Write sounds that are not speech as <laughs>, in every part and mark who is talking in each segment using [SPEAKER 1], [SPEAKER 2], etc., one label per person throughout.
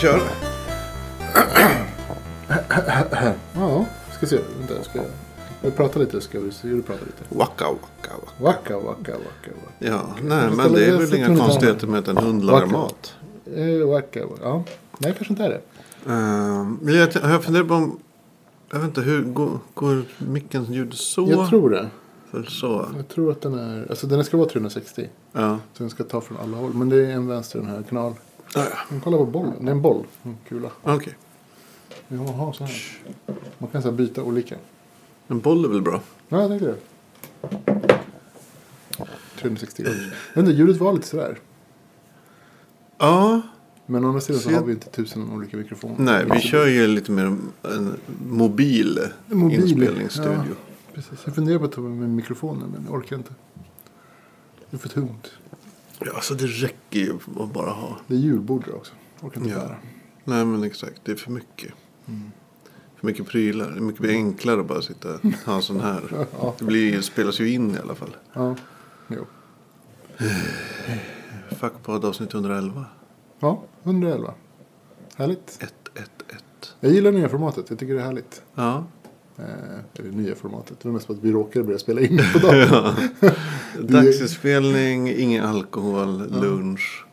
[SPEAKER 1] kör.
[SPEAKER 2] Ja, ska se. Vänta, ska jag... Jag pratar lite ska vi se hur du pratar lite.
[SPEAKER 1] Waka, waka, waka.
[SPEAKER 2] Wacka, wacka, wacka, wacka.
[SPEAKER 1] Ja, nej, men
[SPEAKER 2] Jag
[SPEAKER 1] det är
[SPEAKER 2] ställer-
[SPEAKER 1] väl
[SPEAKER 2] jag
[SPEAKER 1] inga
[SPEAKER 2] tror inte
[SPEAKER 1] konstigheter med att en hund lagar
[SPEAKER 2] Waka.
[SPEAKER 1] mat.
[SPEAKER 2] Eh, wacka, wacka. Ja, nej kanske inte är det.
[SPEAKER 1] Ehm, men jag, jag funderar på om... Jag vet inte, hur går, går mickens ljud så?
[SPEAKER 2] Jag tror det.
[SPEAKER 1] För så.
[SPEAKER 2] Jag tror att den är... Alltså den ska vara 360.
[SPEAKER 1] Ja.
[SPEAKER 2] Så den ska ta från alla håll. Men det är en vänster den här kanal.
[SPEAKER 1] Ah, ja.
[SPEAKER 2] Men kolla på bollen. Det är en boll. En kula.
[SPEAKER 1] Okej.
[SPEAKER 2] Jaha, så här. Man kan så här byta olika.
[SPEAKER 1] En boll är väl bra?
[SPEAKER 2] Ja, jag tänkte det. 360 grader. Jag undrar, ljudet var lite sådär.
[SPEAKER 1] Ja.
[SPEAKER 2] Men å andra sidan så
[SPEAKER 1] Se.
[SPEAKER 2] har vi inte tusen olika mikrofoner.
[SPEAKER 1] Nej, vi kör ju lite mer en mobil,
[SPEAKER 2] Mobil,
[SPEAKER 1] inspelningsstudio.
[SPEAKER 2] Precis. Jag funderar på att ta med mikrofonen men jag orkar inte. Det är för tungt.
[SPEAKER 1] Ja. alltså det räcker ju att bara ha.
[SPEAKER 2] Det är julbord där också. Jag orkar inte
[SPEAKER 1] Ja.
[SPEAKER 2] bära.
[SPEAKER 1] Nej, men exakt. Det är för mycket.
[SPEAKER 2] Mm.
[SPEAKER 1] För mycket prylar. Det är mycket enklare att bara sitta och ha en sån här.
[SPEAKER 2] Ja.
[SPEAKER 1] Det blir, ju- spelas ju in i alla fall.
[SPEAKER 2] Ja. Jo.
[SPEAKER 1] Fackpodd avsnitt 111.
[SPEAKER 2] Ja, 111. Härligt.
[SPEAKER 1] 111.
[SPEAKER 2] Jag gillar det nya formatet. Jag tycker det är härligt.
[SPEAKER 1] Ja.
[SPEAKER 2] Eh, eller nya formatet. Det var mest för att vi råkade börja spela in
[SPEAKER 1] <laughs>
[SPEAKER 2] på dagen.
[SPEAKER 1] Dagsinspelning, ingen alkohol, lunch.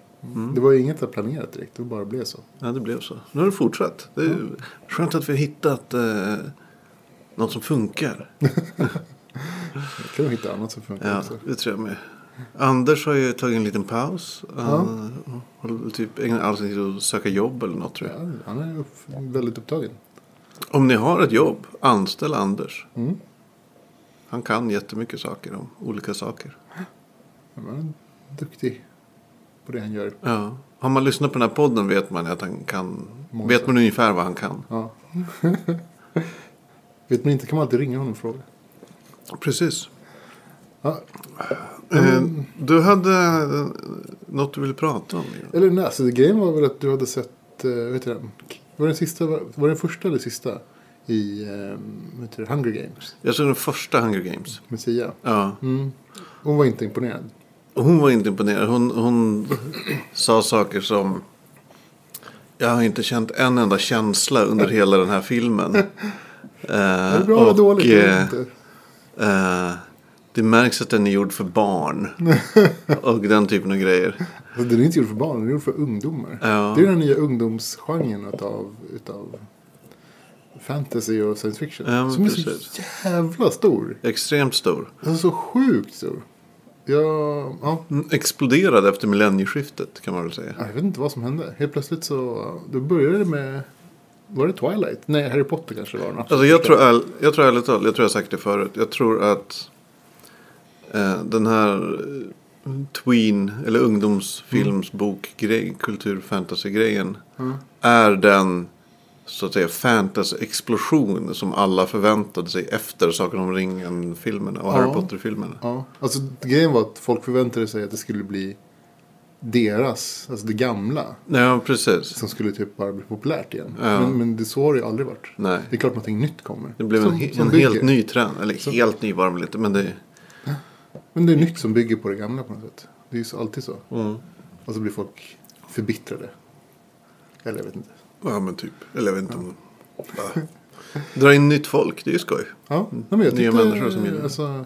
[SPEAKER 2] Det var ju inget jag planerat direkt. Det bara blev så.
[SPEAKER 1] Ja, det blev så. Nu har det fortsatt. Det är ju skönt att vi har hittat eh, något som funkar.
[SPEAKER 2] Jag kan nog hitta annat som funkar
[SPEAKER 1] Ja,
[SPEAKER 2] också.
[SPEAKER 1] det tror jag med. Anders har ju tagit en liten paus. Han håller typ ägnar all sin tid åt att söka jobb eller något tror jag.
[SPEAKER 2] Ja, han är upp, väldigt upptagen.
[SPEAKER 1] Om ni har ett jobb, anställ Anders.
[SPEAKER 2] Mm.
[SPEAKER 1] Han kan jättemycket saker om olika saker.
[SPEAKER 2] Han är duktig på det han gör.
[SPEAKER 1] Ja. Har man lyssnat på den här podden vet man att han kan.
[SPEAKER 2] Många
[SPEAKER 1] Vet man ungefär vad han kan.
[SPEAKER 2] Ja. <laughs> Vet man inte kan man alltid ringa honom och fråga.
[SPEAKER 1] Precis.
[SPEAKER 2] Ja. Mm.
[SPEAKER 1] Eh, du hade eh, något du ville prata om. ju.
[SPEAKER 2] Eller nej, alltså, grejen var väl att du hade sett, eh, vad heter den? Var den, sista, var, var den första eller sista i eh, vad heter det, Hunger Games?
[SPEAKER 1] Jag såg den första Hunger Games.
[SPEAKER 2] Lucia.
[SPEAKER 1] Ja.
[SPEAKER 2] Mm. Hon var inte imponerad.
[SPEAKER 1] Och Hon var inte imponerad. Hon, hon sa saker som... Jag har inte känt en enda känsla under hela den här
[SPEAKER 2] <laughs>
[SPEAKER 1] filmen. Eh,
[SPEAKER 2] Är det bra eller dåligt? Jag vet
[SPEAKER 1] eh,
[SPEAKER 2] inte.
[SPEAKER 1] eh, det märks att den är gjord för
[SPEAKER 2] <laughs>
[SPEAKER 1] barn. och den typen av grejer.
[SPEAKER 2] Alltså, den är inte gjord för barn, den är gjord för ungdomar.
[SPEAKER 1] Ja.
[SPEAKER 2] Det är den nya ungdomsgenren utav, utav fantasy och science fiction.
[SPEAKER 1] Ja, men
[SPEAKER 2] som är så
[SPEAKER 1] precis.
[SPEAKER 2] jävla stor.
[SPEAKER 1] Extremt stor.
[SPEAKER 2] Den är så sjukt stor. Jag, ja,
[SPEAKER 1] Mm, Exploderade efter millennieskiftet kan man väl säga.
[SPEAKER 2] jag vet inte vad som hände. Helt plötsligt så då började det med... Var det Twilight? Nej, Harry Potter kanske det var. den
[SPEAKER 1] Alltså jag, tror, all- jag tror ärligt talat, jag tror jag har sagt det förut. Jag tror att eh, den här eh, tween eller ungdomsfilmsbokgrej, kultur fantasy grejen
[SPEAKER 2] Mm.
[SPEAKER 1] är den så att säga fantasy-explosion som alla förväntade sig efter Sagan om ringen-filmerna och Harry Potter-filmerna.
[SPEAKER 2] Ja, alltså grejen var att folk förväntade sig att det skulle bli deras, alltså det gamla.
[SPEAKER 1] Ja, precis.
[SPEAKER 2] Som skulle typ bara bli populärt igen.
[SPEAKER 1] Ja.
[SPEAKER 2] Men, men det, så har det ju aldrig varit.
[SPEAKER 1] Nej.
[SPEAKER 2] Det är klart någonting nytt kommer.
[SPEAKER 1] Det blev
[SPEAKER 2] som,
[SPEAKER 1] en, he-
[SPEAKER 2] som
[SPEAKER 1] en
[SPEAKER 2] bygger.
[SPEAKER 1] helt ny trend. Eller helt ny var de väl inte, men det...
[SPEAKER 2] Men det är nytt som bygger på det gamla på något sätt. Det är ju så- alltid så. Och så blir folk förbittrade. Eller jag vet inte.
[SPEAKER 1] Ja, men typ. Eller jag vet inte om... Ja. Dra in nytt folk, det är ju skoj.
[SPEAKER 2] Ja, nej, men jag
[SPEAKER 1] Nya
[SPEAKER 2] tyckte,
[SPEAKER 1] människor som gillar det.
[SPEAKER 2] alltså,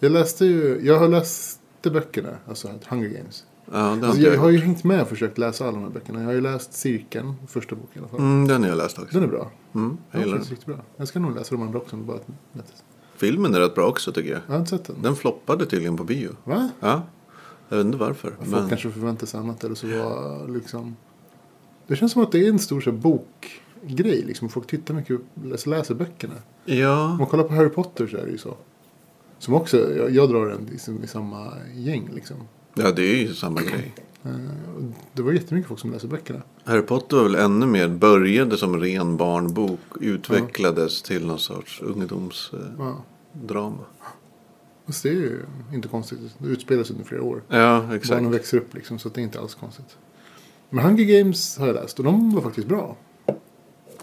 [SPEAKER 2] Jag läste ju, jag har läst böckerna, alltså Hunger Games.
[SPEAKER 1] Ja, det har inte
[SPEAKER 2] Alltså,
[SPEAKER 1] jag
[SPEAKER 2] jag har ju hängt med och försökt läsa alla de här böckerna. Jag har ju läst Cirkeln, första boken i alla fall.
[SPEAKER 1] Mm, den har jag läst också.
[SPEAKER 2] Den är bra.
[SPEAKER 1] Mm, jag
[SPEAKER 2] Den
[SPEAKER 1] gillar
[SPEAKER 2] är
[SPEAKER 1] den.
[SPEAKER 2] faktiskt riktigt bra. Jag ska nog läsa de andra också. Bara att,
[SPEAKER 1] Filmen är rätt bra också tycker jag.
[SPEAKER 2] jag har inte sett den.
[SPEAKER 1] Den floppade tydligen på bio.
[SPEAKER 2] Va?
[SPEAKER 1] Ja, jag vet inte varför.
[SPEAKER 2] Folk
[SPEAKER 1] Men,
[SPEAKER 2] kanske förväntar sig annat eller så var liksom... Det känns som att det är en stor så här, bokgrej liksom. Folk tittar mycket och läser, läser böckerna. Om
[SPEAKER 1] ja,
[SPEAKER 2] man kollar på Harry Potter så är det ju så. Som också, jag, jag drar den liksom, i samma gäng liksom.
[SPEAKER 1] ja, det är ju samma grej.
[SPEAKER 2] Eh, och Det var jättemycket folk som läser böckerna.
[SPEAKER 1] Harry Potter var väl ännu mer, började som ren barnbok, utvecklades till någon sorts ungdomsdrama.
[SPEAKER 2] Ja. Och det är ju inte konstigt. Det utspelas under flera år.
[SPEAKER 1] Ja,
[SPEAKER 2] Barnen
[SPEAKER 1] exakt.
[SPEAKER 2] växer upp liksom så att det är inte alls konstigt. Men Hunger Games har jag läst och de var faktiskt bra.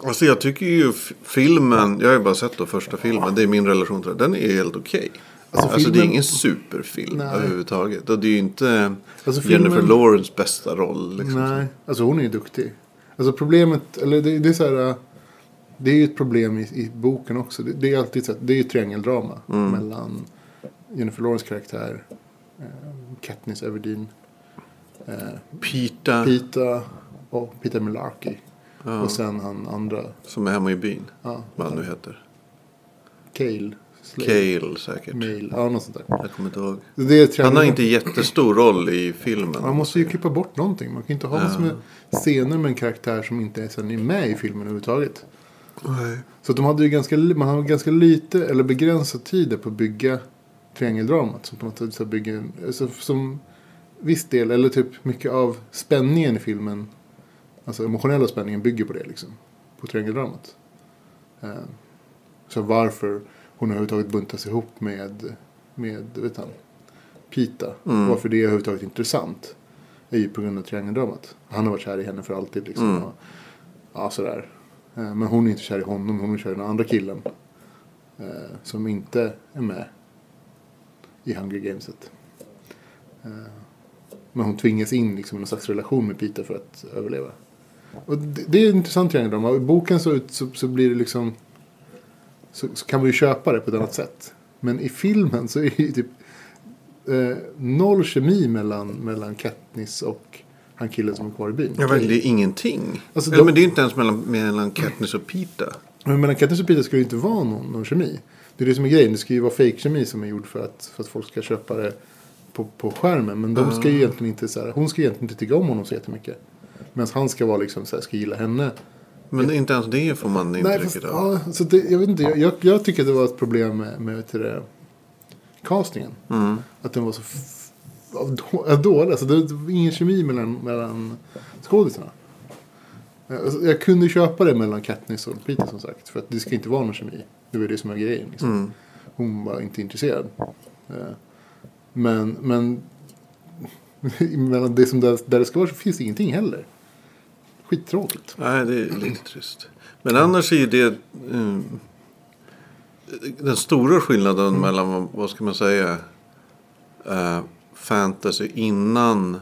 [SPEAKER 1] Alltså jag tycker ju f- filmen, jag har ju bara sett då första filmen, det är min relation till den, den är helt okej. Alltså,
[SPEAKER 2] Alltså,
[SPEAKER 1] det är
[SPEAKER 2] filmen-
[SPEAKER 1] ingen superfilm
[SPEAKER 2] Nej.
[SPEAKER 1] överhuvudtaget. Och det är ju inte
[SPEAKER 2] Alltså,
[SPEAKER 1] Jennifer
[SPEAKER 2] filmen-
[SPEAKER 1] Lawrence bästa roll. Liksom.
[SPEAKER 2] Nej, alltså hon är ju duktig. Alltså problemet, eller det, det är så här. eh, Det är ju ett problem i, i boken också. Det, det är alltid så här, det är ju triangeldrama
[SPEAKER 1] Mm.
[SPEAKER 2] mellan Jennifer Lawrence karaktär, eh, Katniss Everdeen, eh,
[SPEAKER 1] Pita.
[SPEAKER 2] Pita och Peter Mullarky.
[SPEAKER 1] Ja,
[SPEAKER 2] Och sen han andra,
[SPEAKER 1] som är hemma i byn.
[SPEAKER 2] ja,
[SPEAKER 1] Vad han nu heter.
[SPEAKER 2] Cale. Slade,
[SPEAKER 1] Cale säkert.
[SPEAKER 2] Mail, ja något sånt där.
[SPEAKER 1] Jag kommer inte ihåg.
[SPEAKER 2] Så Det är ett
[SPEAKER 1] Typ. Han har
[SPEAKER 2] triangel-
[SPEAKER 1] inte jättestor roll i filmen.
[SPEAKER 2] Man måste ju klippa bort någonting. Man kan inte ha
[SPEAKER 1] Ja.
[SPEAKER 2] massor med scener med en karaktär som inte ens är med i filmen överhuvudtaget.
[SPEAKER 1] Nej.
[SPEAKER 2] Så att de hade ju ganska, man hade ganska lite eller begränsad tid där på att bygga triangeldramat. Som på något sätt så bygger, en- alltså, som viss del, eller typ mycket av spänningen i filmen, alltså emotionella spänningen bygger på det liksom. På triangeldramat. Eh, Så varför hon överhuvudtaget buntas ihop med, med vet han, Pita.
[SPEAKER 1] Mm.
[SPEAKER 2] Varför det är överhuvudtaget intressant. Är ju på grund av triangeldramat. Han har varit kär i henne för alltid liksom.
[SPEAKER 1] Mm.
[SPEAKER 2] Och, ja, sådär. Eh, Men hon är inte kär i honom, hon är kär i den andra killen. Eh, Som inte är med i Hunger Gameset. Eh, Men hon tvingas in liksom, i någon slags relation med Peter för att överleva. Och det, det är intressant triangeldrama. I boken så, ut- så, så blir det liksom... Så, så kan man ju köpa det på ett annat sätt. Men i filmen så är det ju typ eh, noll kemi mellan, mellan Katniss och han killen som är kvar i byn.
[SPEAKER 1] Ja, verkligen, det är ingenting.
[SPEAKER 2] Alltså,
[SPEAKER 1] Eller,
[SPEAKER 2] de-
[SPEAKER 1] men det är inte ens mellan, mellan Katniss och Pita.
[SPEAKER 2] Men mellan Katniss och Peter ska det ju inte vara någon, någon kemi. Det är det som är grejen. Det ska ju vara fake-kemi som är gjord för att, för att folk ska köpa det på, på skärmen. Men de ska ju egentligen inte, så här, hon ska ju egentligen inte tycka om honom så jättemycket. Medan han ska vara liksom så här, ska gilla henne.
[SPEAKER 1] Men inte ens det får man
[SPEAKER 2] Nej,
[SPEAKER 1] intrycket
[SPEAKER 2] fast,
[SPEAKER 1] av.
[SPEAKER 2] ja, så det, jag vet inte. Jag, jag, jag tycker att det var ett problem med, med vet du det, castingen.
[SPEAKER 1] Mm.
[SPEAKER 2] Att den var så f- av då- av dålig. Alltså, det var ingen kemi mellan, mellan skådisarna. Alltså, jag kunde köpa det mellan Katniss och Peter som sagt. För att det ska inte vara någon kemi. Det var ju det som var grejen. Liksom.
[SPEAKER 1] Mm.
[SPEAKER 2] Hon var inte intresserad. Eh, Men, men <laughs> mellan det som där, där det ska vara så finns det ingenting heller. Skittråkigt.
[SPEAKER 1] Nej, det är lite trist. Men annars är ju det... mm, den stora skillnaden mellan, vad- vad ska man säga, eh, fantasy innan...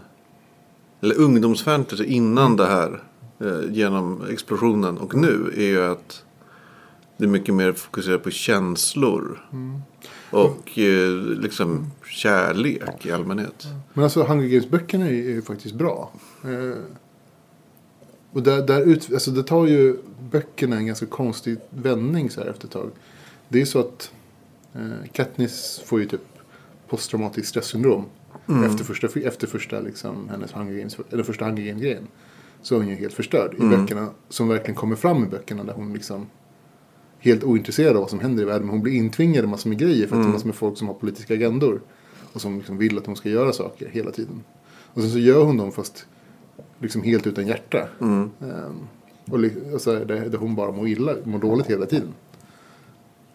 [SPEAKER 1] Eller ungdomsfantasy innan det här, eh, genom explosionen och nu, är ju att det är mycket mer fokuserat på känslor. Och eh, liksom kärlek i allmänhet.
[SPEAKER 2] Men alltså Hunger Games-böckerna är ju är ju faktiskt bra. Eh, Och där, där ut, alltså det tar ju böckerna en ganska konstig vändning så här efter ett tag. Det är ju så att eh, Katniss får ju typ posttraumatiskt stresssyndrom. Efter första, fi- efter första liksom, hennes Hunger Games, eller första Hunger Games-grejen. Så är hon ju helt förstörd i böckerna. Som verkligen kommer fram i böckerna där hon liksom helt ointresserad av vad som händer i världen. Men hon blir intvingad i massor med grejer för att det är massor med folk som har politiska agendor. Och som liksom vill att hon ska göra saker hela tiden. Och sen så gör hon dem fast liksom helt utan hjärta. Ehm, och li- och så här, där, där hon bara mår illa, mår dåligt hela tiden.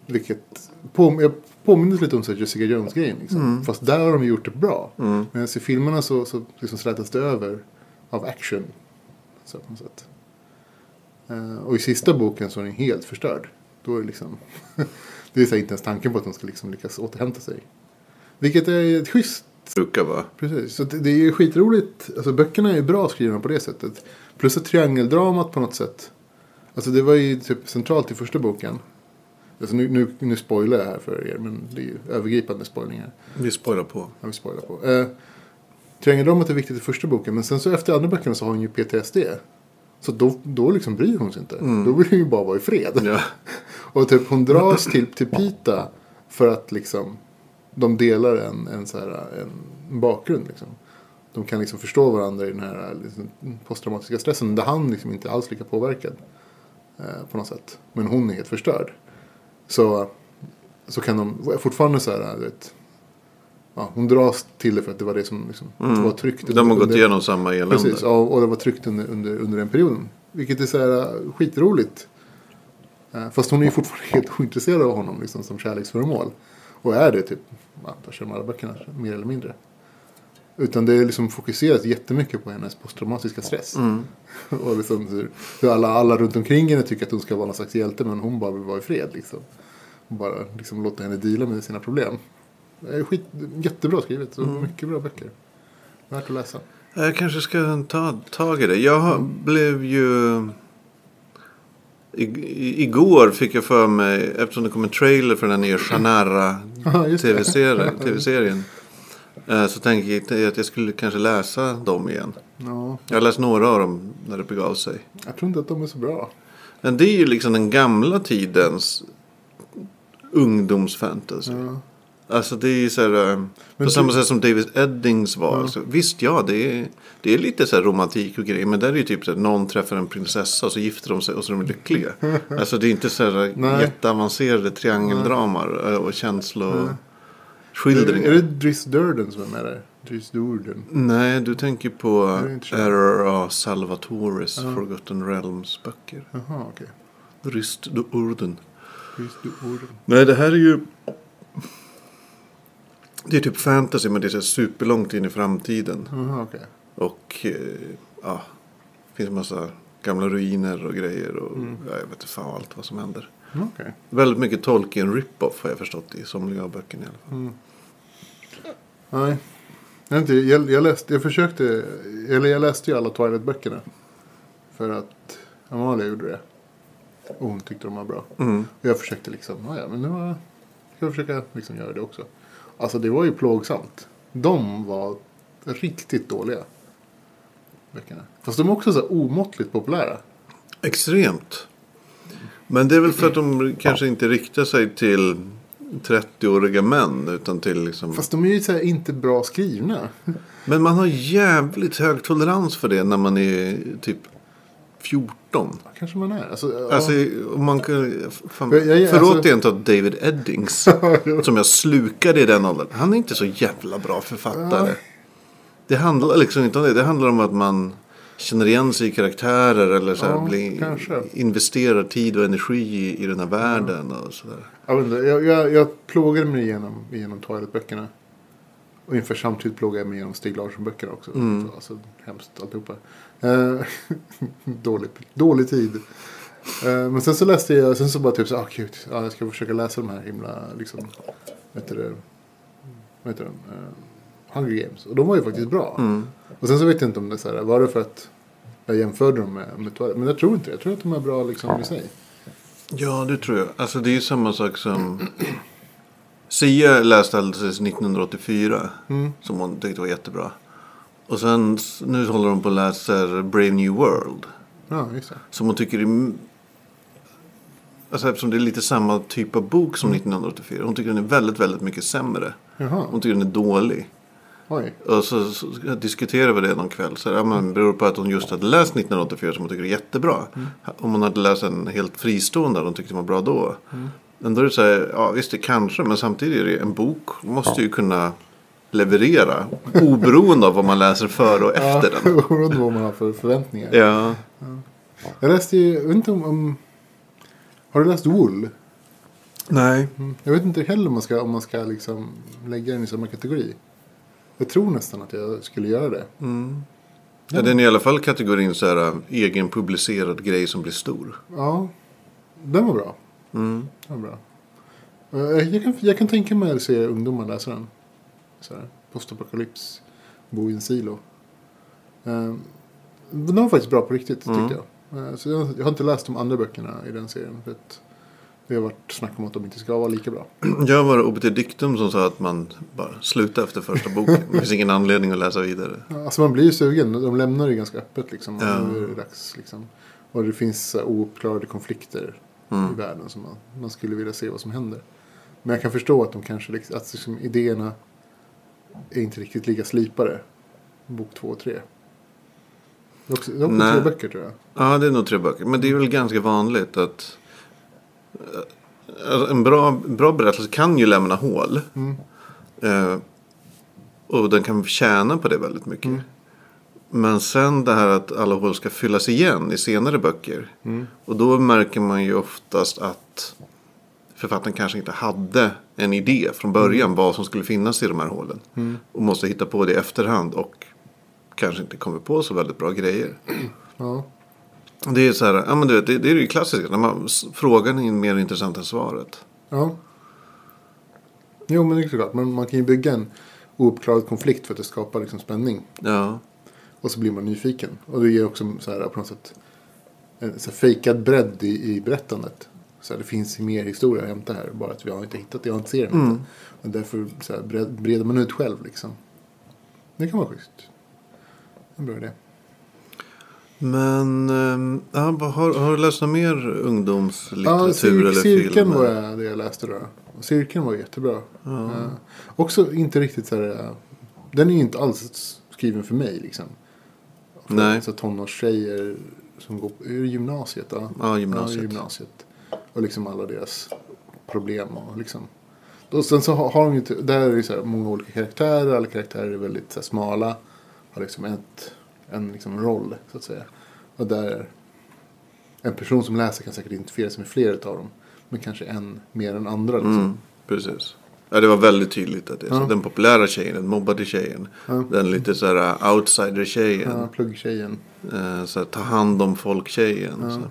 [SPEAKER 2] Vilket på, jag påminner lite om så här Jessica Jones-grejen. Liksom. Fast där har de gjort det bra. Mm. Medan i filmerna så, så liksom slätas det över av action. Så på något sätt. Eh, och i sista boken så är den helt förstörd. Då är det liksom... <laughs> det är så här, inte ens tanken på att de ska liksom lyckas återhämta sig. Vilket är ett schysst
[SPEAKER 1] Brukar vara.
[SPEAKER 2] Precis, så det, det är ju skitroligt. Alltså böckerna är ju bra skrivna på det sättet. Plus att triangeldramat på något sätt. Alltså det var ju typ centralt i första boken. Alltså nu, nu, nu spoilar jag här för er men det är ju övergripande spoilningar.
[SPEAKER 1] Vi spoilar på.
[SPEAKER 2] Jag vill spoila på. Eh, triangeldramat är viktigt i första boken men sen så efter andra böckerna så har hon ju PTSD. Så då, då liksom bryr hon sig inte. Då vill hon ju bara vara i fred.
[SPEAKER 1] Ja.
[SPEAKER 2] Och typ hon dras
[SPEAKER 1] <clears throat>
[SPEAKER 2] till, till Pita för att liksom de delar en, en, så här, en bakgrund. Liksom. De kan liksom förstå varandra i den här liksom, posttraumatiska stressen där han liksom inte alls är lika påverkad. Eh, på något sätt. Men hon är helt förstörd. Så, så kan de fortfarande så här, du vet, ja, hon dras till det för att det var det som liksom, var tryggt.
[SPEAKER 1] Mm. De har gått
[SPEAKER 2] under-
[SPEAKER 1] igenom samma elände.
[SPEAKER 2] Precis, ja, och det var tryggt under, under, under den perioden. Vilket är så här, äh, skitroligt. Eh, Fast hon är ju fortfarande helt ointresserad av honom liksom, som kärleksföremål. Och är det typ, ja, kanske de alla böckerna mer eller mindre. Utan det är liksom fokuserat jättemycket på hennes posttraumatiska stress. <laughs> och liksom hur, hur alla, alla runt omkring henne tycker att hon ska vara någon slags hjälte men hon bara vill vara i fred. Liksom. Och bara liksom låta henne deala med sina problem. Det är Skit, jättebra skrivet och mycket bra böcker. Värt att läsa.
[SPEAKER 1] Jag kanske ska ta tag i det. Jag har-
[SPEAKER 2] Mm.
[SPEAKER 1] blev ju... I, i, igår fick jag för mig, eftersom det kom en trailer för den här nya
[SPEAKER 2] <clears throat> Ja, just det.
[SPEAKER 1] Shannara-tv-serien. TV-serien, eh, så tänkte jag att jag skulle kanske läsa dem igen.
[SPEAKER 2] Ja,
[SPEAKER 1] Jag har läst några av dem när det begav sig.
[SPEAKER 2] jag tror inte att de är så bra.
[SPEAKER 1] Men det är ju liksom den gamla tidens ungdomsfantasy.
[SPEAKER 2] Ja.
[SPEAKER 1] Alltså det är ju så här, eh, på
[SPEAKER 2] du-
[SPEAKER 1] samma sätt som David Eddings var. Så, visst ja, det är, det är lite så här romantik och grejer. Men där är det ju typ så att någon träffar en prinsessa och så gifter de sig och så är de
[SPEAKER 2] <laughs>
[SPEAKER 1] lyckliga. alltså det är inte så här
[SPEAKER 2] Nej.
[SPEAKER 1] jätteavancerade triangeldramar eh, och
[SPEAKER 2] Är,
[SPEAKER 1] känsloskildringar.
[SPEAKER 2] är det Driss Durden som är med där? Driss Durden.
[SPEAKER 1] Nej, du tänker på
[SPEAKER 2] det är inte så.
[SPEAKER 1] R.R.A. Salvatoris Forgotten Realms böcker.
[SPEAKER 2] Jaha, okej.
[SPEAKER 1] Ryst du orden.
[SPEAKER 2] Driss Durden.
[SPEAKER 1] Nej, det här är ju... Det är typ fantasy, men det är så här superlångt in i framtiden.
[SPEAKER 2] Jaha, okej.
[SPEAKER 1] Och eh, ja, det finns massa gamla ruiner och grejer. Och ja, jag vet inte fan allt vad som händer.
[SPEAKER 2] Mm, okej.
[SPEAKER 1] Väldigt mycket Tolkien rip-off har jag förstått i somliga av böckerna i alla fall.
[SPEAKER 2] Nej. Jag, vet inte, jag, jag, läste, jag försökte, eller jag läste ju alla Twilight-böckerna. För att Amalia gjorde det. Och hon tyckte de var bra. Och jag försökte liksom, "Ja, ja men nu har jag- ska jag försöka liksom göra det också. Alltså det var ju plågsamt. De var riktigt dåliga. Böckerna. Fast de är också så här omåttligt populära.
[SPEAKER 1] Extremt. Men det är väl för att de kanske inte riktar sig till 30-åriga män. Utan till liksom...
[SPEAKER 2] Fast de är ju så här inte bra skrivna.
[SPEAKER 1] Men man har jävligt hög tolerans för det när man är typ 14.
[SPEAKER 2] Kanske man är. Alltså, ja.
[SPEAKER 1] Alltså, om man kan, fan,
[SPEAKER 2] Jag- jag-
[SPEAKER 1] förlåt
[SPEAKER 2] alltså-
[SPEAKER 1] jag inte att David
[SPEAKER 2] <laughs>
[SPEAKER 1] Eddings, som jag slukade i den åldern, han är inte så jävla bra författare. Det handlar liksom inte om det, det handlar om att man känner igen sig i karaktärer eller så här,
[SPEAKER 2] Ja,
[SPEAKER 1] blir,
[SPEAKER 2] kanske.
[SPEAKER 1] investerar tid och energi i, i den här världen och sådär.
[SPEAKER 2] Jag, vet inte, jag, jag, jag plågade mig igenom, igenom Twilight-böckerna. Och ungefär samtidigt plågade jag mig igenom Stig Larsson-böckerna också. Så, alltså, hemskt alltihopa. Eh, <laughs> dålig, dålig tid. Eh, men sen så läste jag, sen så bara typ så, ah gud, ja, jag ska försöka läsa de här himla, liksom, vad heter det, vad heter de, Eh, Hunger Games. Och de var ju faktiskt bra. Och sen så vet jag inte om det är så här, var det för att jag jämförde dem med, med Twilight? Men jag tror inte det, jag tror att de är bra liksom i sig.
[SPEAKER 1] Ja, det tror jag. Alltså det är ju samma sak som... <clears throat> Sia läste alldeles 1984.
[SPEAKER 2] Mm.
[SPEAKER 1] Som hon tyckte var jättebra. Och sen s- nu håller hon på och läser Brave New World.
[SPEAKER 2] Ja, just det.
[SPEAKER 1] Som hon tycker är... m- Alltså eftersom det är lite samma typ av bok som 1984. Hon tycker den är väldigt, väldigt mycket sämre.
[SPEAKER 2] Jaha,
[SPEAKER 1] Hon tycker den är dålig.
[SPEAKER 2] oj.
[SPEAKER 1] Och så, så diskuterade vi det någon kväll. Så, här, ja, men beror på att hon just hade läst 1984 som hon tycker är jättebra. Om hon hade läst en helt fristående hon tyckte var bra då. Men då är det så här, ja visst det kanske. Men samtidigt är det en bok måste ju kunna leverera. Oberoende av vad man läser före och efter
[SPEAKER 2] ja, <laughs>
[SPEAKER 1] den.
[SPEAKER 2] Oberoende vad man har för förväntningar.
[SPEAKER 1] Ja.
[SPEAKER 2] Jag läste ju, jag vet inte om, om har du läst Wool? Mm.
[SPEAKER 1] Nej.
[SPEAKER 2] Jag vet inte heller om man ska, om man ska liksom lägga den i samma kategori. Jag tror nästan att jag skulle göra det.
[SPEAKER 1] Mm. Ja, den är i alla fall kategorin så här, egen publicerad grej som blir stor. Mm.
[SPEAKER 2] Ja, den var bra. Den var bra. Eh, Jag kan, jag kan tänka mig att se ungdomar läsa den. Så här, Postapokalyps, bo i en silo. Eh, Den var faktiskt bra på riktigt tyckte jag. Eh, Så jag. Jag har inte läst de andra böckerna i den serien. För att det har varit snack om att de inte ska vara lika bra.
[SPEAKER 1] <clears throat> Jag var OBT Dictum som sa att man bara slutar efter första boken. Det finns ingen anledning att läsa vidare.
[SPEAKER 2] Alltså man blir ju sugen. De lämnar det ganska öppet liksom.
[SPEAKER 1] Ja.
[SPEAKER 2] Nu är det dags liksom. Och det finns så här ouppklarade konflikter i
[SPEAKER 1] Mm.
[SPEAKER 2] världen som man, man skulle vilja se vad som händer. Men jag kan förstå att de kanske, liksom- att liksom idéerna är inte riktigt lika slipade. Bok två och tre. Det är också, det är också
[SPEAKER 1] Nej.
[SPEAKER 2] tre böcker tror jag.
[SPEAKER 1] Ja, det är nog tre böcker. Men det är väl ganska vanligt att eh, alltså, en bra, bra berättelse kan ju lämna hål. Eh, och den kan tjäna på det väldigt mycket. Men sen det här att alla hål ska fyllas igen i senare böcker. Och då märker man ju oftast att författaren kanske inte hade en idé från början vad som skulle finnas i de här hålen. Och måste hitta på det i efterhand och kanske inte kommer på så väldigt bra grejer.
[SPEAKER 2] Ja.
[SPEAKER 1] Det är så här, ja men du vet, det, det är ju klassiskt. När man, s- frågan är mer intressant än svaret.
[SPEAKER 2] ja. Jo men det är klart. Men man kan ju bygga en ouppklarad konflikt för att det skapar liksom spänning.
[SPEAKER 1] Ja.
[SPEAKER 2] Och så blir man nyfiken. Och det ger också så här, på något sätt en så här, fejkad bredd i, i berättandet. Så här, det finns mer historia att hämta här. Bara att vi har inte hittat det, jag har inte sett den.
[SPEAKER 1] Mm.
[SPEAKER 2] inte. Och därför så här, bred, breder man ut själv liksom. Det kan vara schysst. En bra idé.
[SPEAKER 1] Men ehm, ja, vad- har, har du läst någon mer ungdomslitteratur
[SPEAKER 2] cir-
[SPEAKER 1] eller film?
[SPEAKER 2] Cirkeln var det jag läste då. Och Cirkeln var jättebra.
[SPEAKER 1] Ja.
[SPEAKER 2] Eh, också inte riktigt så här. eh, Den är ju inte alls skriven för mig liksom. För
[SPEAKER 1] Nej.
[SPEAKER 2] Så tonårstjejer som går är det gymnasiet. Ja,
[SPEAKER 1] Ja, gymnasiet.
[SPEAKER 2] Ja, gymnasiet. Och liksom alla deras problem och liksom. Och sen så har, har de ju, inte- där är det ju så här många olika karaktärer. Alla karaktärer är väldigt så här, smala. Har liksom ett, en liksom roll så att säga. Och där en person som läser kan säkert identifiera sig med flera av dem. Men kanske en mer än andra. Liksom.
[SPEAKER 1] Mm, precis. Ja, det var väldigt tydligt att det är så.
[SPEAKER 2] Ja.
[SPEAKER 1] Den populära tjejen, den mobbade tjejen.
[SPEAKER 2] Ja.
[SPEAKER 1] Den lite så här äh, outsider-tjejen.
[SPEAKER 2] Ja, pluggtjejen.
[SPEAKER 1] Eh, Så här, ta hand om folk-tjejen. Så.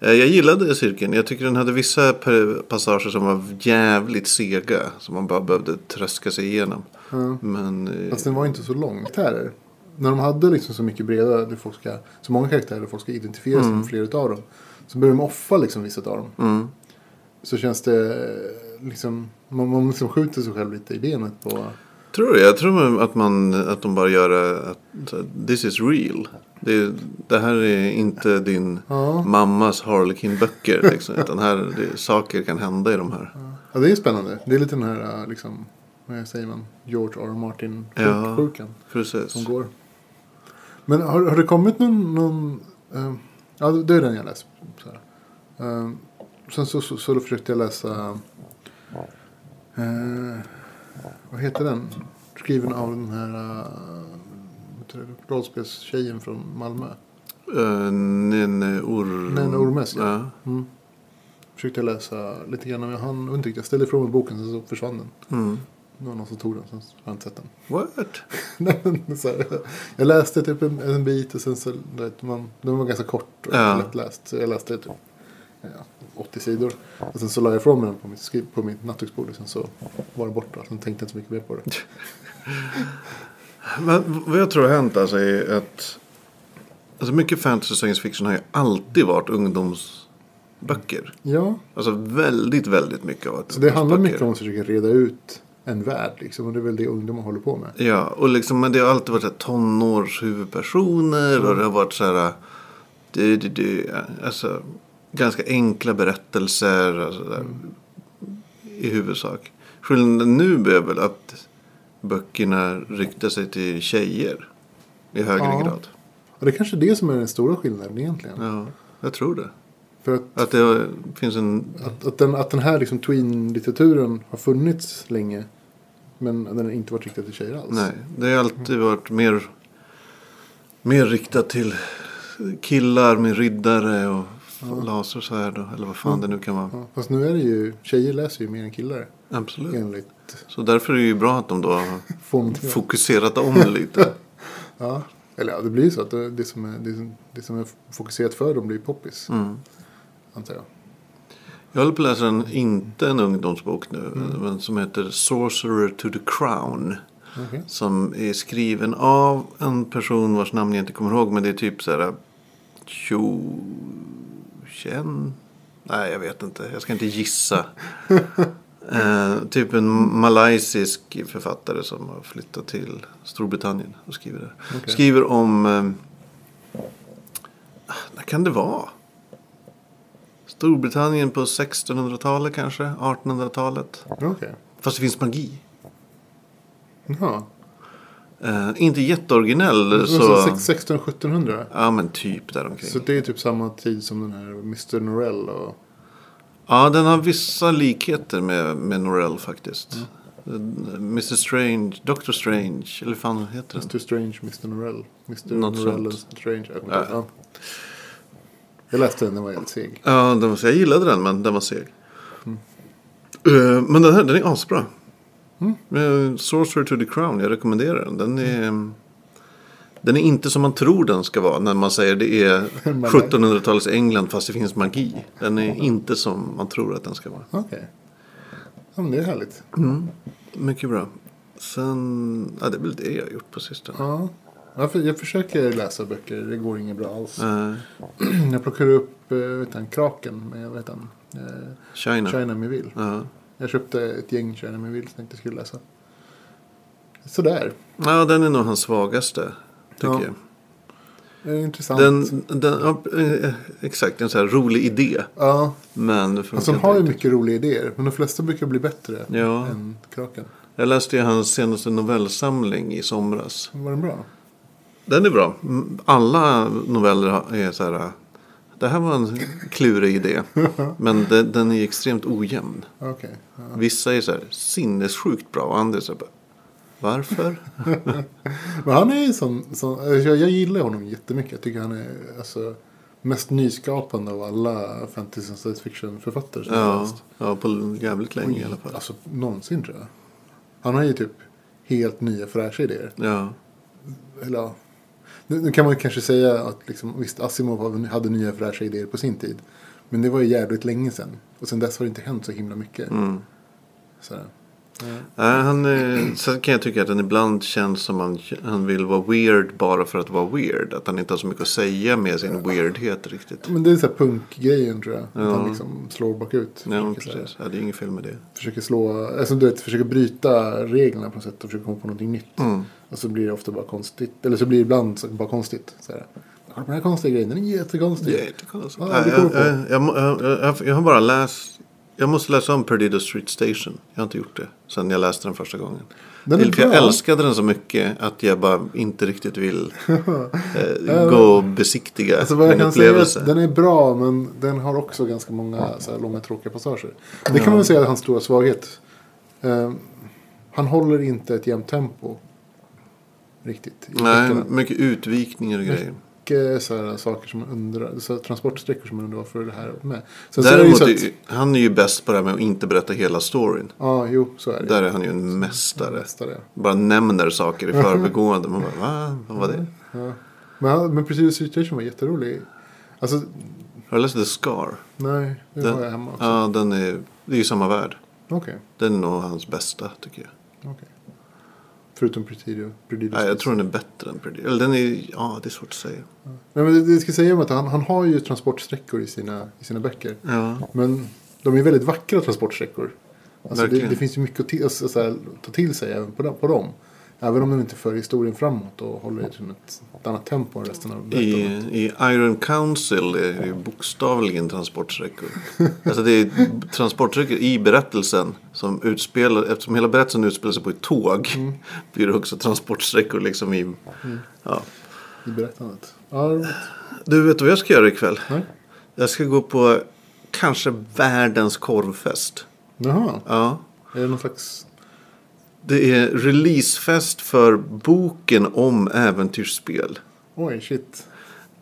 [SPEAKER 1] Eh, Jag gillade cirkeln. Jag tycker den hade vissa per- passager som var jävligt sega. Som man bara behövde tröska sig igenom.
[SPEAKER 2] Ja.
[SPEAKER 1] Men eh,
[SPEAKER 2] Fast den var inte så lång. Karaktärer. När de hade liksom så mycket breda, där folk ska, så många karaktärer där folk ska identifiera sig med flera av dem. Så börjar de offa liksom vissa av dem.
[SPEAKER 1] mm,
[SPEAKER 2] Så känns det eh, liksom, man, man liksom skjuter sig själv lite i benet på...
[SPEAKER 1] tror jag. Jag tror att, man, att de bara gör eh, att så här, this is real. Det, det här är inte din
[SPEAKER 2] Ja.
[SPEAKER 1] mammas Harlequin-böcker. Liksom, utan här, det, saker kan hända i de här.
[SPEAKER 2] ja, det är spännande. Det är lite den här eh, liksom, vad säger man, George R. R.
[SPEAKER 1] Ja.
[SPEAKER 2] Martin-sjukan.
[SPEAKER 1] Precis.
[SPEAKER 2] som går. Men har, har det kommit någon... någon eh, ja, det är den jag läser. Så här. Eh, sen så, så, så då försökte jag läsa... eh, vad heter den? Skriven av den här eh, uh, rollspelstjejen från Malmö.
[SPEAKER 1] Uh, Nene Orm.
[SPEAKER 2] Nene Ormes, ja.
[SPEAKER 1] Mm. ja.
[SPEAKER 2] Mm. Försökte jag läsa lite grann men jag hann inte riktigt. Jag ställde ifrån mig boken sen så försvann den.
[SPEAKER 1] Mm.
[SPEAKER 2] Det var någon som tog den sen så har jag inte sett den.
[SPEAKER 1] What? <laughs>
[SPEAKER 2] Nej, men <laughs> så här, jag läste typ en, en bit och sen så, du vet, man, den var ganska kort och
[SPEAKER 1] Ja.
[SPEAKER 2] lättläst. Så jag läste typ ja, 80 sidor. Och sen så la jag ifrån mig den på mitt, skri- på mitt nattduksbord och sen så var den borta. Sen tänkte jag inte så mycket mer på det.
[SPEAKER 1] Men vad jag tror har hänt alltså är att alltså mycket fantasy och science fiction har ju alltid varit ungdomsböcker.
[SPEAKER 2] Ja,
[SPEAKER 1] Alltså väldigt, väldigt mycket av
[SPEAKER 2] så det handlar mycket om att försöka reda ut en värld liksom. Och det är väl det ungdomar håller på med.
[SPEAKER 1] Ja, och liksom, men det har alltid varit så här tonårshuvudpersoner och det har varit så här... äh, Du, du, du, alltså, ganska enkla berättelser alltså, där, i huvudsak. Skillnaden nu är väl att böckerna riktar sig till tjejer i högre
[SPEAKER 2] Ja.
[SPEAKER 1] grad.
[SPEAKER 2] Och det är kanske det som är den stora skillnaden egentligen.
[SPEAKER 1] Ja, jag tror det.
[SPEAKER 2] För att,
[SPEAKER 1] Att det finns en...
[SPEAKER 2] att, att, den, att den här liksom tween-litteraturen har funnits länge. Men den har inte varit riktad till tjejer alls.
[SPEAKER 1] Nej, det har alltid varit mer, mer riktat till killar med riddare och lasersvärd och, eller vad fan det nu kan vara.
[SPEAKER 2] Ja, fast nu är det ju, tjejer läser ju mer än killar.
[SPEAKER 1] Absolut.
[SPEAKER 2] Enligt
[SPEAKER 1] Så därför är det ju bra att de då har
[SPEAKER 2] fondtiden.
[SPEAKER 1] fokuserat om det lite.
[SPEAKER 2] Ja. Eller ja, det blir ju så att det, det, som är, det, som- det som är fokuserat för dem blir poppis.
[SPEAKER 1] Mm.
[SPEAKER 2] Antar jag.
[SPEAKER 1] Jag håller på att läsa en, inte en ungdomsbok nu, men som heter Sorcerer to the Crown.
[SPEAKER 2] Okej.
[SPEAKER 1] Som är skriven av en person vars namn jag inte kommer ihåg. Men det är typ så här... Tjo... Chen? Nej, jag vet inte. Jag ska inte gissa. eh, typ en malaysisk författare som har flyttat till Storbritannien och skriver där.
[SPEAKER 2] Okej.
[SPEAKER 1] Skriver om... Eh, när kan det vara? Storbritannien på 1600-talet kanske? 1800-talet?
[SPEAKER 2] Okej.
[SPEAKER 1] Fast det finns magi.
[SPEAKER 2] Jaha.
[SPEAKER 1] Eh, inte jätteoriginell.
[SPEAKER 2] Så...
[SPEAKER 1] Så...
[SPEAKER 2] 1600-1700.
[SPEAKER 1] Ja men typ däromkring.
[SPEAKER 2] Så det är typ samma tid som den här Mr. Norell och...
[SPEAKER 1] Ja den har vissa likheter med, med Norell faktiskt. Eh,
[SPEAKER 2] Mm.
[SPEAKER 1] Mr Strange, Dr Strange, eller fan vad heter den?
[SPEAKER 2] Mr. Strange, Mr. Norell. Mr.
[SPEAKER 1] Något
[SPEAKER 2] Norell and
[SPEAKER 1] sånt.
[SPEAKER 2] Strange. Jag, kommer
[SPEAKER 1] Ja.
[SPEAKER 2] inte ihåg. ja. jag läste den, den var helt seg.
[SPEAKER 1] Ja den var, jag gillade den men den var seg.
[SPEAKER 2] Mm.
[SPEAKER 1] Eh, men den här den är asbra. Mm. Sorcerer to the Crown, jag rekommenderar den. Den är, den är inte som man tror den ska vara när man säger det
[SPEAKER 2] <laughs>
[SPEAKER 1] är
[SPEAKER 2] Malaj.
[SPEAKER 1] 1700-talets England fast det finns magi. Den är inte som man tror att den ska vara.
[SPEAKER 2] Okej. Ja, men det är härligt.
[SPEAKER 1] Mycket bra. Sen, ja det är väl det jag har gjort på sistone.
[SPEAKER 2] Ja. Jag, för- jag försöker läsa böcker, det går inget bra alls.
[SPEAKER 1] Eh,
[SPEAKER 2] <clears throat> Jag plockade upp eh, vet han, Kraken med vet han, eh,
[SPEAKER 1] China.
[SPEAKER 2] China Miville.
[SPEAKER 1] Ja.
[SPEAKER 2] Jag köpte ett gäng China Miville som jag tänkte skulle läsa. Sådär.
[SPEAKER 1] ja, den är nog hans svagaste. Tycker
[SPEAKER 2] Ja.
[SPEAKER 1] jag.
[SPEAKER 2] Eh, Intressant.
[SPEAKER 1] Den, den, ja, eh, exakt, en så här rolig idé.
[SPEAKER 2] Ja,
[SPEAKER 1] Men det funkar
[SPEAKER 2] alltså, de
[SPEAKER 1] inte
[SPEAKER 2] har ju
[SPEAKER 1] riktigt.
[SPEAKER 2] mycket roliga idéer. Men de flesta brukar bli bättre
[SPEAKER 1] Ja.
[SPEAKER 2] än Kraken.
[SPEAKER 1] Jag läste ju hans senaste novellsamling i somras.
[SPEAKER 2] Var den bra?
[SPEAKER 1] Den är bra. Mm, Alla noveller har- är så här. eh, Det här var en klurig
[SPEAKER 2] <laughs>
[SPEAKER 1] idé. Men de- den är extremt ojämn.
[SPEAKER 2] Ja, Okej. Ja.
[SPEAKER 1] Vissa är så här sinnessjukt bra. Och andra är så här. bara, Varför?
[SPEAKER 2] Men han är ju sån, sån alltså, jag, jag gillar honom jättemycket. Jag tycker han är alltså, mest nyskapande av alla fantasy och science fiction författare som jag har
[SPEAKER 1] Ja,
[SPEAKER 2] läst.
[SPEAKER 1] ja, på jävligt länge i alla fall.
[SPEAKER 2] Alltså någonsin tror jag. Han har ju typ helt nya fräscha idéer.
[SPEAKER 1] Ja,
[SPEAKER 2] Eller, ja. nu, nu kan man kanske säga att liksom, visst Asimov hade nya fräscha idéer på sin tid. Men det var ju jävligt länge sedan. Och sedan dess har det inte hänt så himla mycket.
[SPEAKER 1] mm.
[SPEAKER 2] Så, här.
[SPEAKER 1] Nej, han är, sen kan jag tycka att han ibland känns som han, han vill vara weird bara för att vara weird. Att han inte har så mycket att säga med sin weirdhet riktigt.
[SPEAKER 2] Men det är så här punkgrejen tror jag. Att
[SPEAKER 1] Ja.
[SPEAKER 2] han liksom slår bakut.
[SPEAKER 1] Nej, men
[SPEAKER 2] Försöker så här-
[SPEAKER 1] precis. Ja, det är inget fel med det.
[SPEAKER 2] försöker slå, alltså du vet, försöker bryta reglerna på något sätt och försöker komma på någonting nytt.
[SPEAKER 1] Mm.
[SPEAKER 2] Och så blir det ofta bara konstigt, eller så blir det ibland så- bara konstigt. Så här. Kolla på den här konstiga grejen, den är jättekonstig.
[SPEAKER 1] Jättekonstigt.
[SPEAKER 2] Ja,
[SPEAKER 1] Nej,
[SPEAKER 2] det kommer
[SPEAKER 1] jag,
[SPEAKER 2] på.
[SPEAKER 1] jag, jag, må- jag, jag, jag har bara läst. Jag måste läsa om Perdido Street Station. Jag har inte gjort det sen jag läste den första gången.
[SPEAKER 2] Den är
[SPEAKER 1] Till- för jag
[SPEAKER 2] bra.
[SPEAKER 1] älskade den så mycket att jag bara inte riktigt
[SPEAKER 2] <laughs>
[SPEAKER 1] vill eh, gå och besiktiga
[SPEAKER 2] Alltså vad jag
[SPEAKER 1] min
[SPEAKER 2] kan säga är
[SPEAKER 1] upplevelse.
[SPEAKER 2] att den är bra men den har också ganska många så här, långa tråkiga passager. Det kan man väl säga är hans stora svaghet. Eh, han håller inte ett jämnt tempo. Riktigt. i
[SPEAKER 1] Nej,
[SPEAKER 2] böckerna.
[SPEAKER 1] mycket utvikningar och grejer.
[SPEAKER 2] Mycket så här, saker som man undrar, så här, transportsträckor som man undrar varför är det här med. Sen så är det ju
[SPEAKER 1] Däremot,
[SPEAKER 2] så
[SPEAKER 1] är
[SPEAKER 2] att,
[SPEAKER 1] ju- han är ju bäst på det här med att inte berätta hela storyn.
[SPEAKER 2] ja, jo, så är det.
[SPEAKER 1] Där är han ju en mästare.
[SPEAKER 2] Mästare.
[SPEAKER 1] Bara nämner saker
[SPEAKER 2] <laughs>
[SPEAKER 1] i förbigående. Man bara, va? Vad var det?
[SPEAKER 2] Ja. Men, han- men precis Situation var jätterolig. Alltså,
[SPEAKER 1] Har du läst The Scar?
[SPEAKER 2] nej, nu
[SPEAKER 1] Den-
[SPEAKER 2] har jag hemma också.
[SPEAKER 1] Ja, den är, det är ju samma värld.
[SPEAKER 2] Okej,
[SPEAKER 1] Den är nog hans bästa tycker jag.
[SPEAKER 2] okej. Förutom Pretidio. Pretidio
[SPEAKER 1] Nej, jag tror den är bättre än Predict. Eller den är, ja det är svårt att säga.
[SPEAKER 2] Nej, men det, det jag ska säga om att han, han har ju transportsträckor i sina, i sina böcker.
[SPEAKER 1] Ja.
[SPEAKER 2] Men de är väldigt vackra transportsträckor. Alltså det,
[SPEAKER 1] Verkligen.
[SPEAKER 2] det finns ju mycket att ti- alltså, så här, ta till sig även på, dem- på dem. Även om de inte för historien framåt och håller liksom ett, ett annat tempo än resten av
[SPEAKER 1] I,
[SPEAKER 2] berättandet.
[SPEAKER 1] I Iron Council är det ju bokstavligen transportsträckor. alltså det är transportsträckor i berättelsen som utspelar, eftersom hela berättelsen utspelar sig på ett tåg. <laughs> Blir det också transportsträckor liksom i, ja.
[SPEAKER 2] I berättandet. Ja, roligt.
[SPEAKER 1] Du vet du vad jag ska göra ikväll?
[SPEAKER 2] Nej.
[SPEAKER 1] Jag ska gå på kanske världens korvfest.
[SPEAKER 2] Jaha,
[SPEAKER 1] Ja.
[SPEAKER 2] är det någon slags...
[SPEAKER 1] Det är releasefest för boken om äventyrsspel.
[SPEAKER 2] Oj, shit.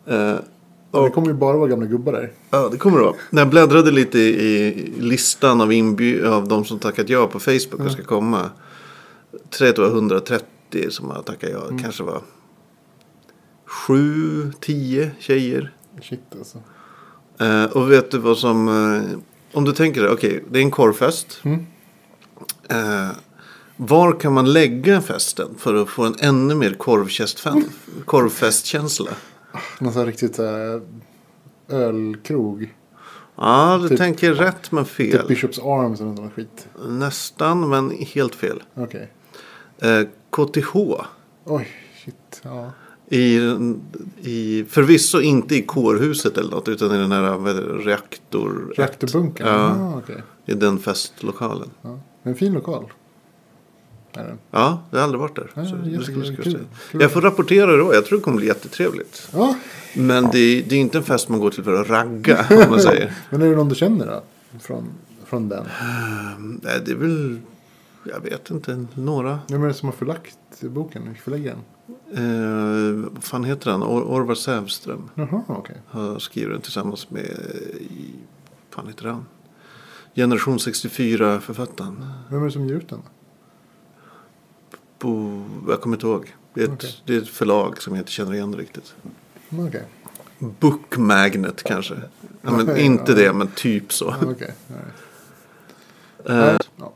[SPEAKER 1] Eh,
[SPEAKER 2] Det
[SPEAKER 1] och,
[SPEAKER 2] kommer ju bara vara gamla gubbar där.
[SPEAKER 1] ja, det kommer det vara. När jag bläddrade lite i listan av, inby- av de som tackat ja på Facebook och ska komma. Tre tror jag 130 som har tackat ja. Kanske var sju, tio tjejer.
[SPEAKER 2] Shit alltså.
[SPEAKER 1] Eh, och vet du vad som... Eh, om du tänker dig, okej, det är en korvfest.
[SPEAKER 2] Mm.
[SPEAKER 1] Eh, var kan man lägga festen för att få en ännu mer korvkästfan- korvfestkänsla?
[SPEAKER 2] Någon sån här riktigt så här, ölkrog.
[SPEAKER 1] Ja, du
[SPEAKER 2] Typ-
[SPEAKER 1] tänker rätt men
[SPEAKER 2] Typ
[SPEAKER 1] fel.
[SPEAKER 2] Bishops Arms eller något sånt skit.
[SPEAKER 1] Nästan men helt fel.
[SPEAKER 2] Okej.
[SPEAKER 1] Eh, KTH.
[SPEAKER 2] Oj, shit. Ja.
[SPEAKER 1] I, i, förvisso inte i kårhuset eller något utan i den här vad heter det, reaktor...
[SPEAKER 2] Reaktorbunkern.
[SPEAKER 1] Ja.
[SPEAKER 2] Ja. Ah, okej.
[SPEAKER 1] I den festlokalen.
[SPEAKER 2] ja. En fin lokal. Är den.
[SPEAKER 1] Ja, jag har aldrig varit där.
[SPEAKER 2] Ja,
[SPEAKER 1] så det skulle jag
[SPEAKER 2] jättekul.
[SPEAKER 1] säga.
[SPEAKER 2] Kul.
[SPEAKER 1] Jag får rapportera då. Jag tror det kommer bli jättetrevligt.
[SPEAKER 2] Ja.
[SPEAKER 1] Men det, det är inte en fest man går till för att ragga. <laughs> Om man säger.
[SPEAKER 2] Men är det någon du känner då? Från, från den?
[SPEAKER 1] Nej, det är väl... Jag vet inte. Några.
[SPEAKER 2] Vem är det som har förlagt boken? Förläggaren?
[SPEAKER 1] Eh, vad fan heter han? Or- Orvar Sävström.
[SPEAKER 2] Jaha, okej.
[SPEAKER 1] har skrivit den tillsammans med, i- fan heter han? Generation 64-författaren.
[SPEAKER 2] Vem är det som ger ut den? då?
[SPEAKER 1] Bo, jag kommer inte ihåg. Det är, ett,
[SPEAKER 2] Okej.
[SPEAKER 1] det är ett förlag som jag inte känner igen riktigt.
[SPEAKER 2] Mm, Okej.
[SPEAKER 1] Book Magnet kanske. Ja, men
[SPEAKER 2] Okej,
[SPEAKER 1] inte
[SPEAKER 2] ja.
[SPEAKER 1] det, men typ så.
[SPEAKER 2] Ja, okej. All right.
[SPEAKER 1] Eh,
[SPEAKER 2] Ja.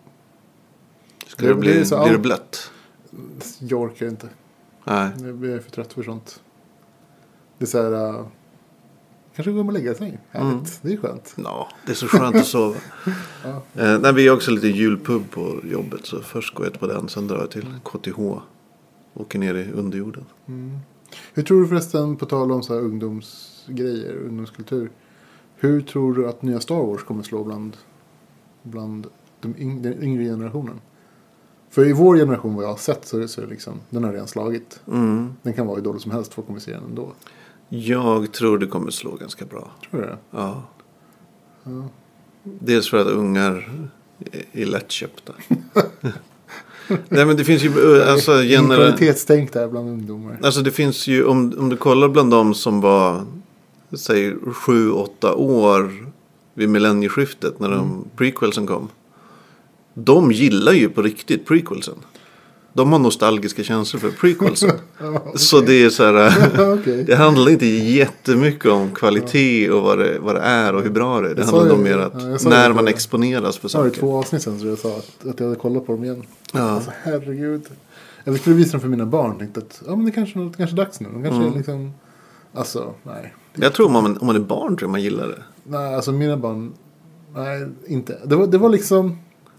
[SPEAKER 1] ska det
[SPEAKER 2] Det
[SPEAKER 1] bli,
[SPEAKER 2] blir så
[SPEAKER 1] blir det
[SPEAKER 2] allt-
[SPEAKER 1] blött?
[SPEAKER 2] Jag orkar inte.
[SPEAKER 1] Nej.
[SPEAKER 2] Jag blir för trött för sånt. Det är så här... eh, kanske går man och lägga sig. Härligt. Det är skönt.
[SPEAKER 1] Nå, det är så skönt att
[SPEAKER 2] <laughs>
[SPEAKER 1] sova. eh, nej, vi har också lite julpub på jobbet. Så först går jag på den, sen drar jag till KTH. Åker ner i underjorden.
[SPEAKER 2] Mm. Hur tror du förresten, på tal om så här ungdomsgrejer, ungdomskultur. Hur tror du att nya Star Wars kommer slå bland, bland de yng, den yngre generationen? För i vår generation, vad jag har sett, så är det så liksom, den har redan slagit.
[SPEAKER 1] Mm.
[SPEAKER 2] Den kan vara hur dålig som helst, folk kommer se den ändå.
[SPEAKER 1] Jag tror det kommer slå ganska bra.
[SPEAKER 2] Tror du det?
[SPEAKER 1] Ja. Dels för att ungar är- är lättköpta. Nej men det finns ju eh, alltså, genera-
[SPEAKER 2] Kvalitetstänk där bland ungdomar. <laughs>
[SPEAKER 1] alltså det finns ju om, om du kollar bland de som var säg 7-8 år vid millennieskiftet när de prequelsen kom. De gillar ju på riktigt prequelsen. De har nostalgiska känslor för prequelsen. Så det är så
[SPEAKER 2] <laughs>
[SPEAKER 1] här. eh,
[SPEAKER 2] Okej.
[SPEAKER 1] Det handlar inte jättemycket om kvalitet och vad det, vad det är och hur bra det är. Det
[SPEAKER 2] Jag
[SPEAKER 1] handlar
[SPEAKER 2] sa
[SPEAKER 1] om
[SPEAKER 2] ju-
[SPEAKER 1] mer
[SPEAKER 2] ja,
[SPEAKER 1] att
[SPEAKER 2] jag sa
[SPEAKER 1] när
[SPEAKER 2] ju
[SPEAKER 1] man
[SPEAKER 2] det.
[SPEAKER 1] exponeras för
[SPEAKER 2] Jag sa det
[SPEAKER 1] saker.
[SPEAKER 2] två avsnitt sen så jag sa att, att jag hade kollat på dem igen.
[SPEAKER 1] Ja.
[SPEAKER 2] Alltså herregud. Jag skulle visa dem för mina barn. Tänkte att ja, men det kanske är kanske är dags nu. De kanske är liksom... Alltså nej.
[SPEAKER 1] Jag tror om man, om man är barn tror jag man gillar det.
[SPEAKER 2] Nej, alltså mina barn. Nej, inte. Det var, det var liksom...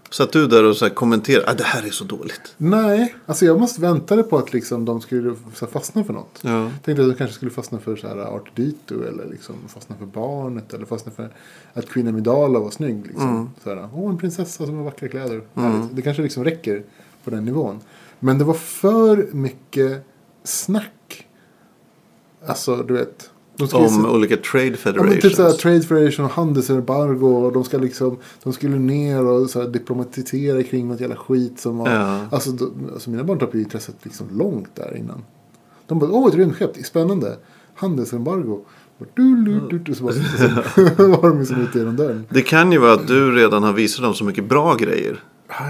[SPEAKER 1] Satt du där och så här kommenterade. Ah, det här är så dåligt.
[SPEAKER 2] Nej, alltså jag måste väntade på att liksom de skulle så här, fastna för något.
[SPEAKER 1] Ja.
[SPEAKER 2] Tänkte att de kanske skulle fastna för så här Art Dito eller liksom fastna för barnet eller fastna för att Queen Amidala var snygg. Liksom. Så här, Åh, en prinsessa som har vackra kläder. Härligt. Det kanske liksom räcker på den nivån. Men det var för mycket snack. Alltså, du vet. De skulle
[SPEAKER 1] Om olika trade
[SPEAKER 2] Ja, men typ såhär,
[SPEAKER 1] federations.
[SPEAKER 2] Trade Federation och handelsembargo. Och de, ska liksom, de skulle ner och så här, diplomatisera kring något jävla skit som var...
[SPEAKER 1] Ja.
[SPEAKER 2] Alltså, då, alltså mina barn tappade ju intresset liksom långt där innan. De bara, åh ett rymdskepp, spännande. Handelsembargo. Och Du, du, du, du,
[SPEAKER 1] <laughs>
[SPEAKER 2] så bara, <laughs> så var de liksom ute genom dörren.
[SPEAKER 1] Det kan ju vara att du redan har visat dem så mycket bra grejer.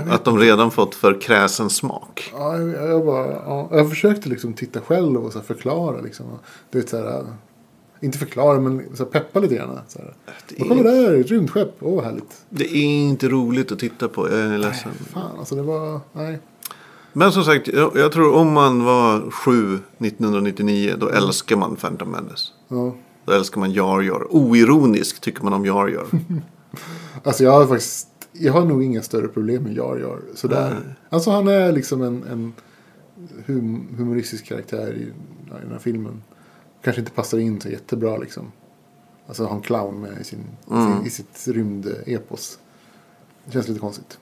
[SPEAKER 1] Att de redan fått för kräsen smak.
[SPEAKER 2] Ja, jag, jag, bara, ja, jag försökte liksom titta själv och så här förklara. Liksom, och, du vet, så här, inte förklara, men så här, peppa lite grann. Så här.
[SPEAKER 1] Det
[SPEAKER 2] Och kolla
[SPEAKER 1] är,
[SPEAKER 2] där, ett rymdskepp. Åh, vad härligt.
[SPEAKER 1] det är inte roligt att titta på. Jag är ledsen.
[SPEAKER 2] Fan, alltså det var... Nej.
[SPEAKER 1] Men som sagt, jag, jag tror om man var sju 1999 då älskar man Phantom Menace.
[SPEAKER 2] Ja.
[SPEAKER 1] Då älskar man Jar Jar. Oironisk tycker man om Jar Jar.
[SPEAKER 2] Alltså jag har faktiskt, jag har nog inga större problem med Jar Jar. Sådär. Alltså han är liksom en, en hum, humoristisk karaktär i, ja, i den här filmen. Kanske inte passar in så jättebra liksom. Alltså ha en clown med i, sin, sin, i sitt rymdepos. Det känns lite konstigt.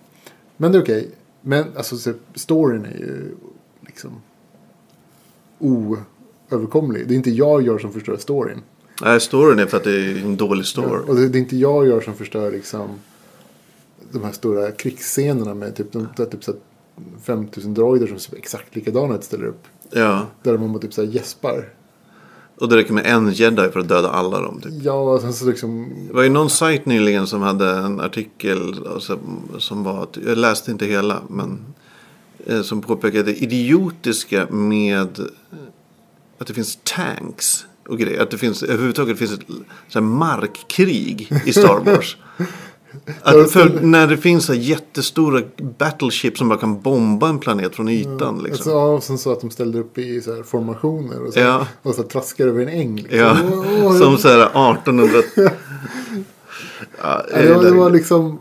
[SPEAKER 2] Men det är okej. Men alltså så- storyn är ju liksom oöverkomlig. Det är inte Jar Jar som förstör storyn.
[SPEAKER 1] Nej, storyn är för att det är en dålig
[SPEAKER 2] Ja,
[SPEAKER 1] story.
[SPEAKER 2] Och det, det är inte jag gör som förstör liksom de här stora krigsscenerna med typ, de, där typ så här 5000 droider som ser exakt likadana ut ställer upp.
[SPEAKER 1] Ja,
[SPEAKER 2] Där man bara typ så här gäspar.
[SPEAKER 1] och det räcker med en jedi för att döda alla dem. Typ.
[SPEAKER 2] Ja, och sen så liksom...
[SPEAKER 1] Det var ju någon sajt nyligen som hade en artikel alltså, som var, att- jag läste inte hela, men eh, som påpekade det idiotiska med eh, att det finns tanks och grejer. Att det finns, överhuvudtaget finns ett så här, markkrig i Star
[SPEAKER 2] <laughs>
[SPEAKER 1] Wars. Att
[SPEAKER 2] Alltså-
[SPEAKER 1] för när det finns så här jättestora battleships som bara kan bomba en planet från ytan.
[SPEAKER 2] Alltså,
[SPEAKER 1] Liksom.
[SPEAKER 2] ja, och sen så att de ställde upp i så här formationer och så,
[SPEAKER 1] Ja.
[SPEAKER 2] och så här traskar över en äng. Liksom.
[SPEAKER 1] Ja,
[SPEAKER 2] Åh, åh,
[SPEAKER 1] som så här
[SPEAKER 2] <laughs>
[SPEAKER 1] 1800... Ja,
[SPEAKER 2] ja, det, var, det
[SPEAKER 1] <coughs>
[SPEAKER 2] var liksom...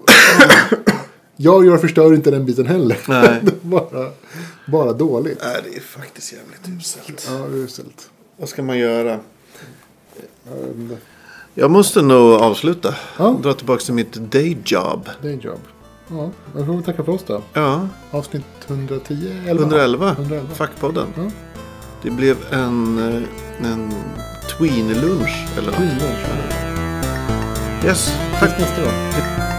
[SPEAKER 2] jag gör förstör inte den biten heller.
[SPEAKER 1] Nej.
[SPEAKER 2] <laughs> Det var bara, bara dåligt.
[SPEAKER 1] Nej, det är faktiskt jävligt uselt.
[SPEAKER 2] Ja, uselt.
[SPEAKER 1] Vad ska man göra?
[SPEAKER 2] Ja, jag vet inte.
[SPEAKER 1] Jag måste nog avsluta.
[SPEAKER 2] Ja.
[SPEAKER 1] Dra tillbaka till mitt day job.
[SPEAKER 2] Det är en jobb. Ja, jag får väl tacka för oss då.
[SPEAKER 1] Ja,
[SPEAKER 2] Avsnitt 110? 11.
[SPEAKER 1] 111.
[SPEAKER 2] 111.
[SPEAKER 1] Fackpodden.
[SPEAKER 2] Ja.
[SPEAKER 1] Det blev en, eh, en tween-lunch eller något.
[SPEAKER 2] Skitbra.
[SPEAKER 1] Yes, tack.
[SPEAKER 2] Tack nästa gång.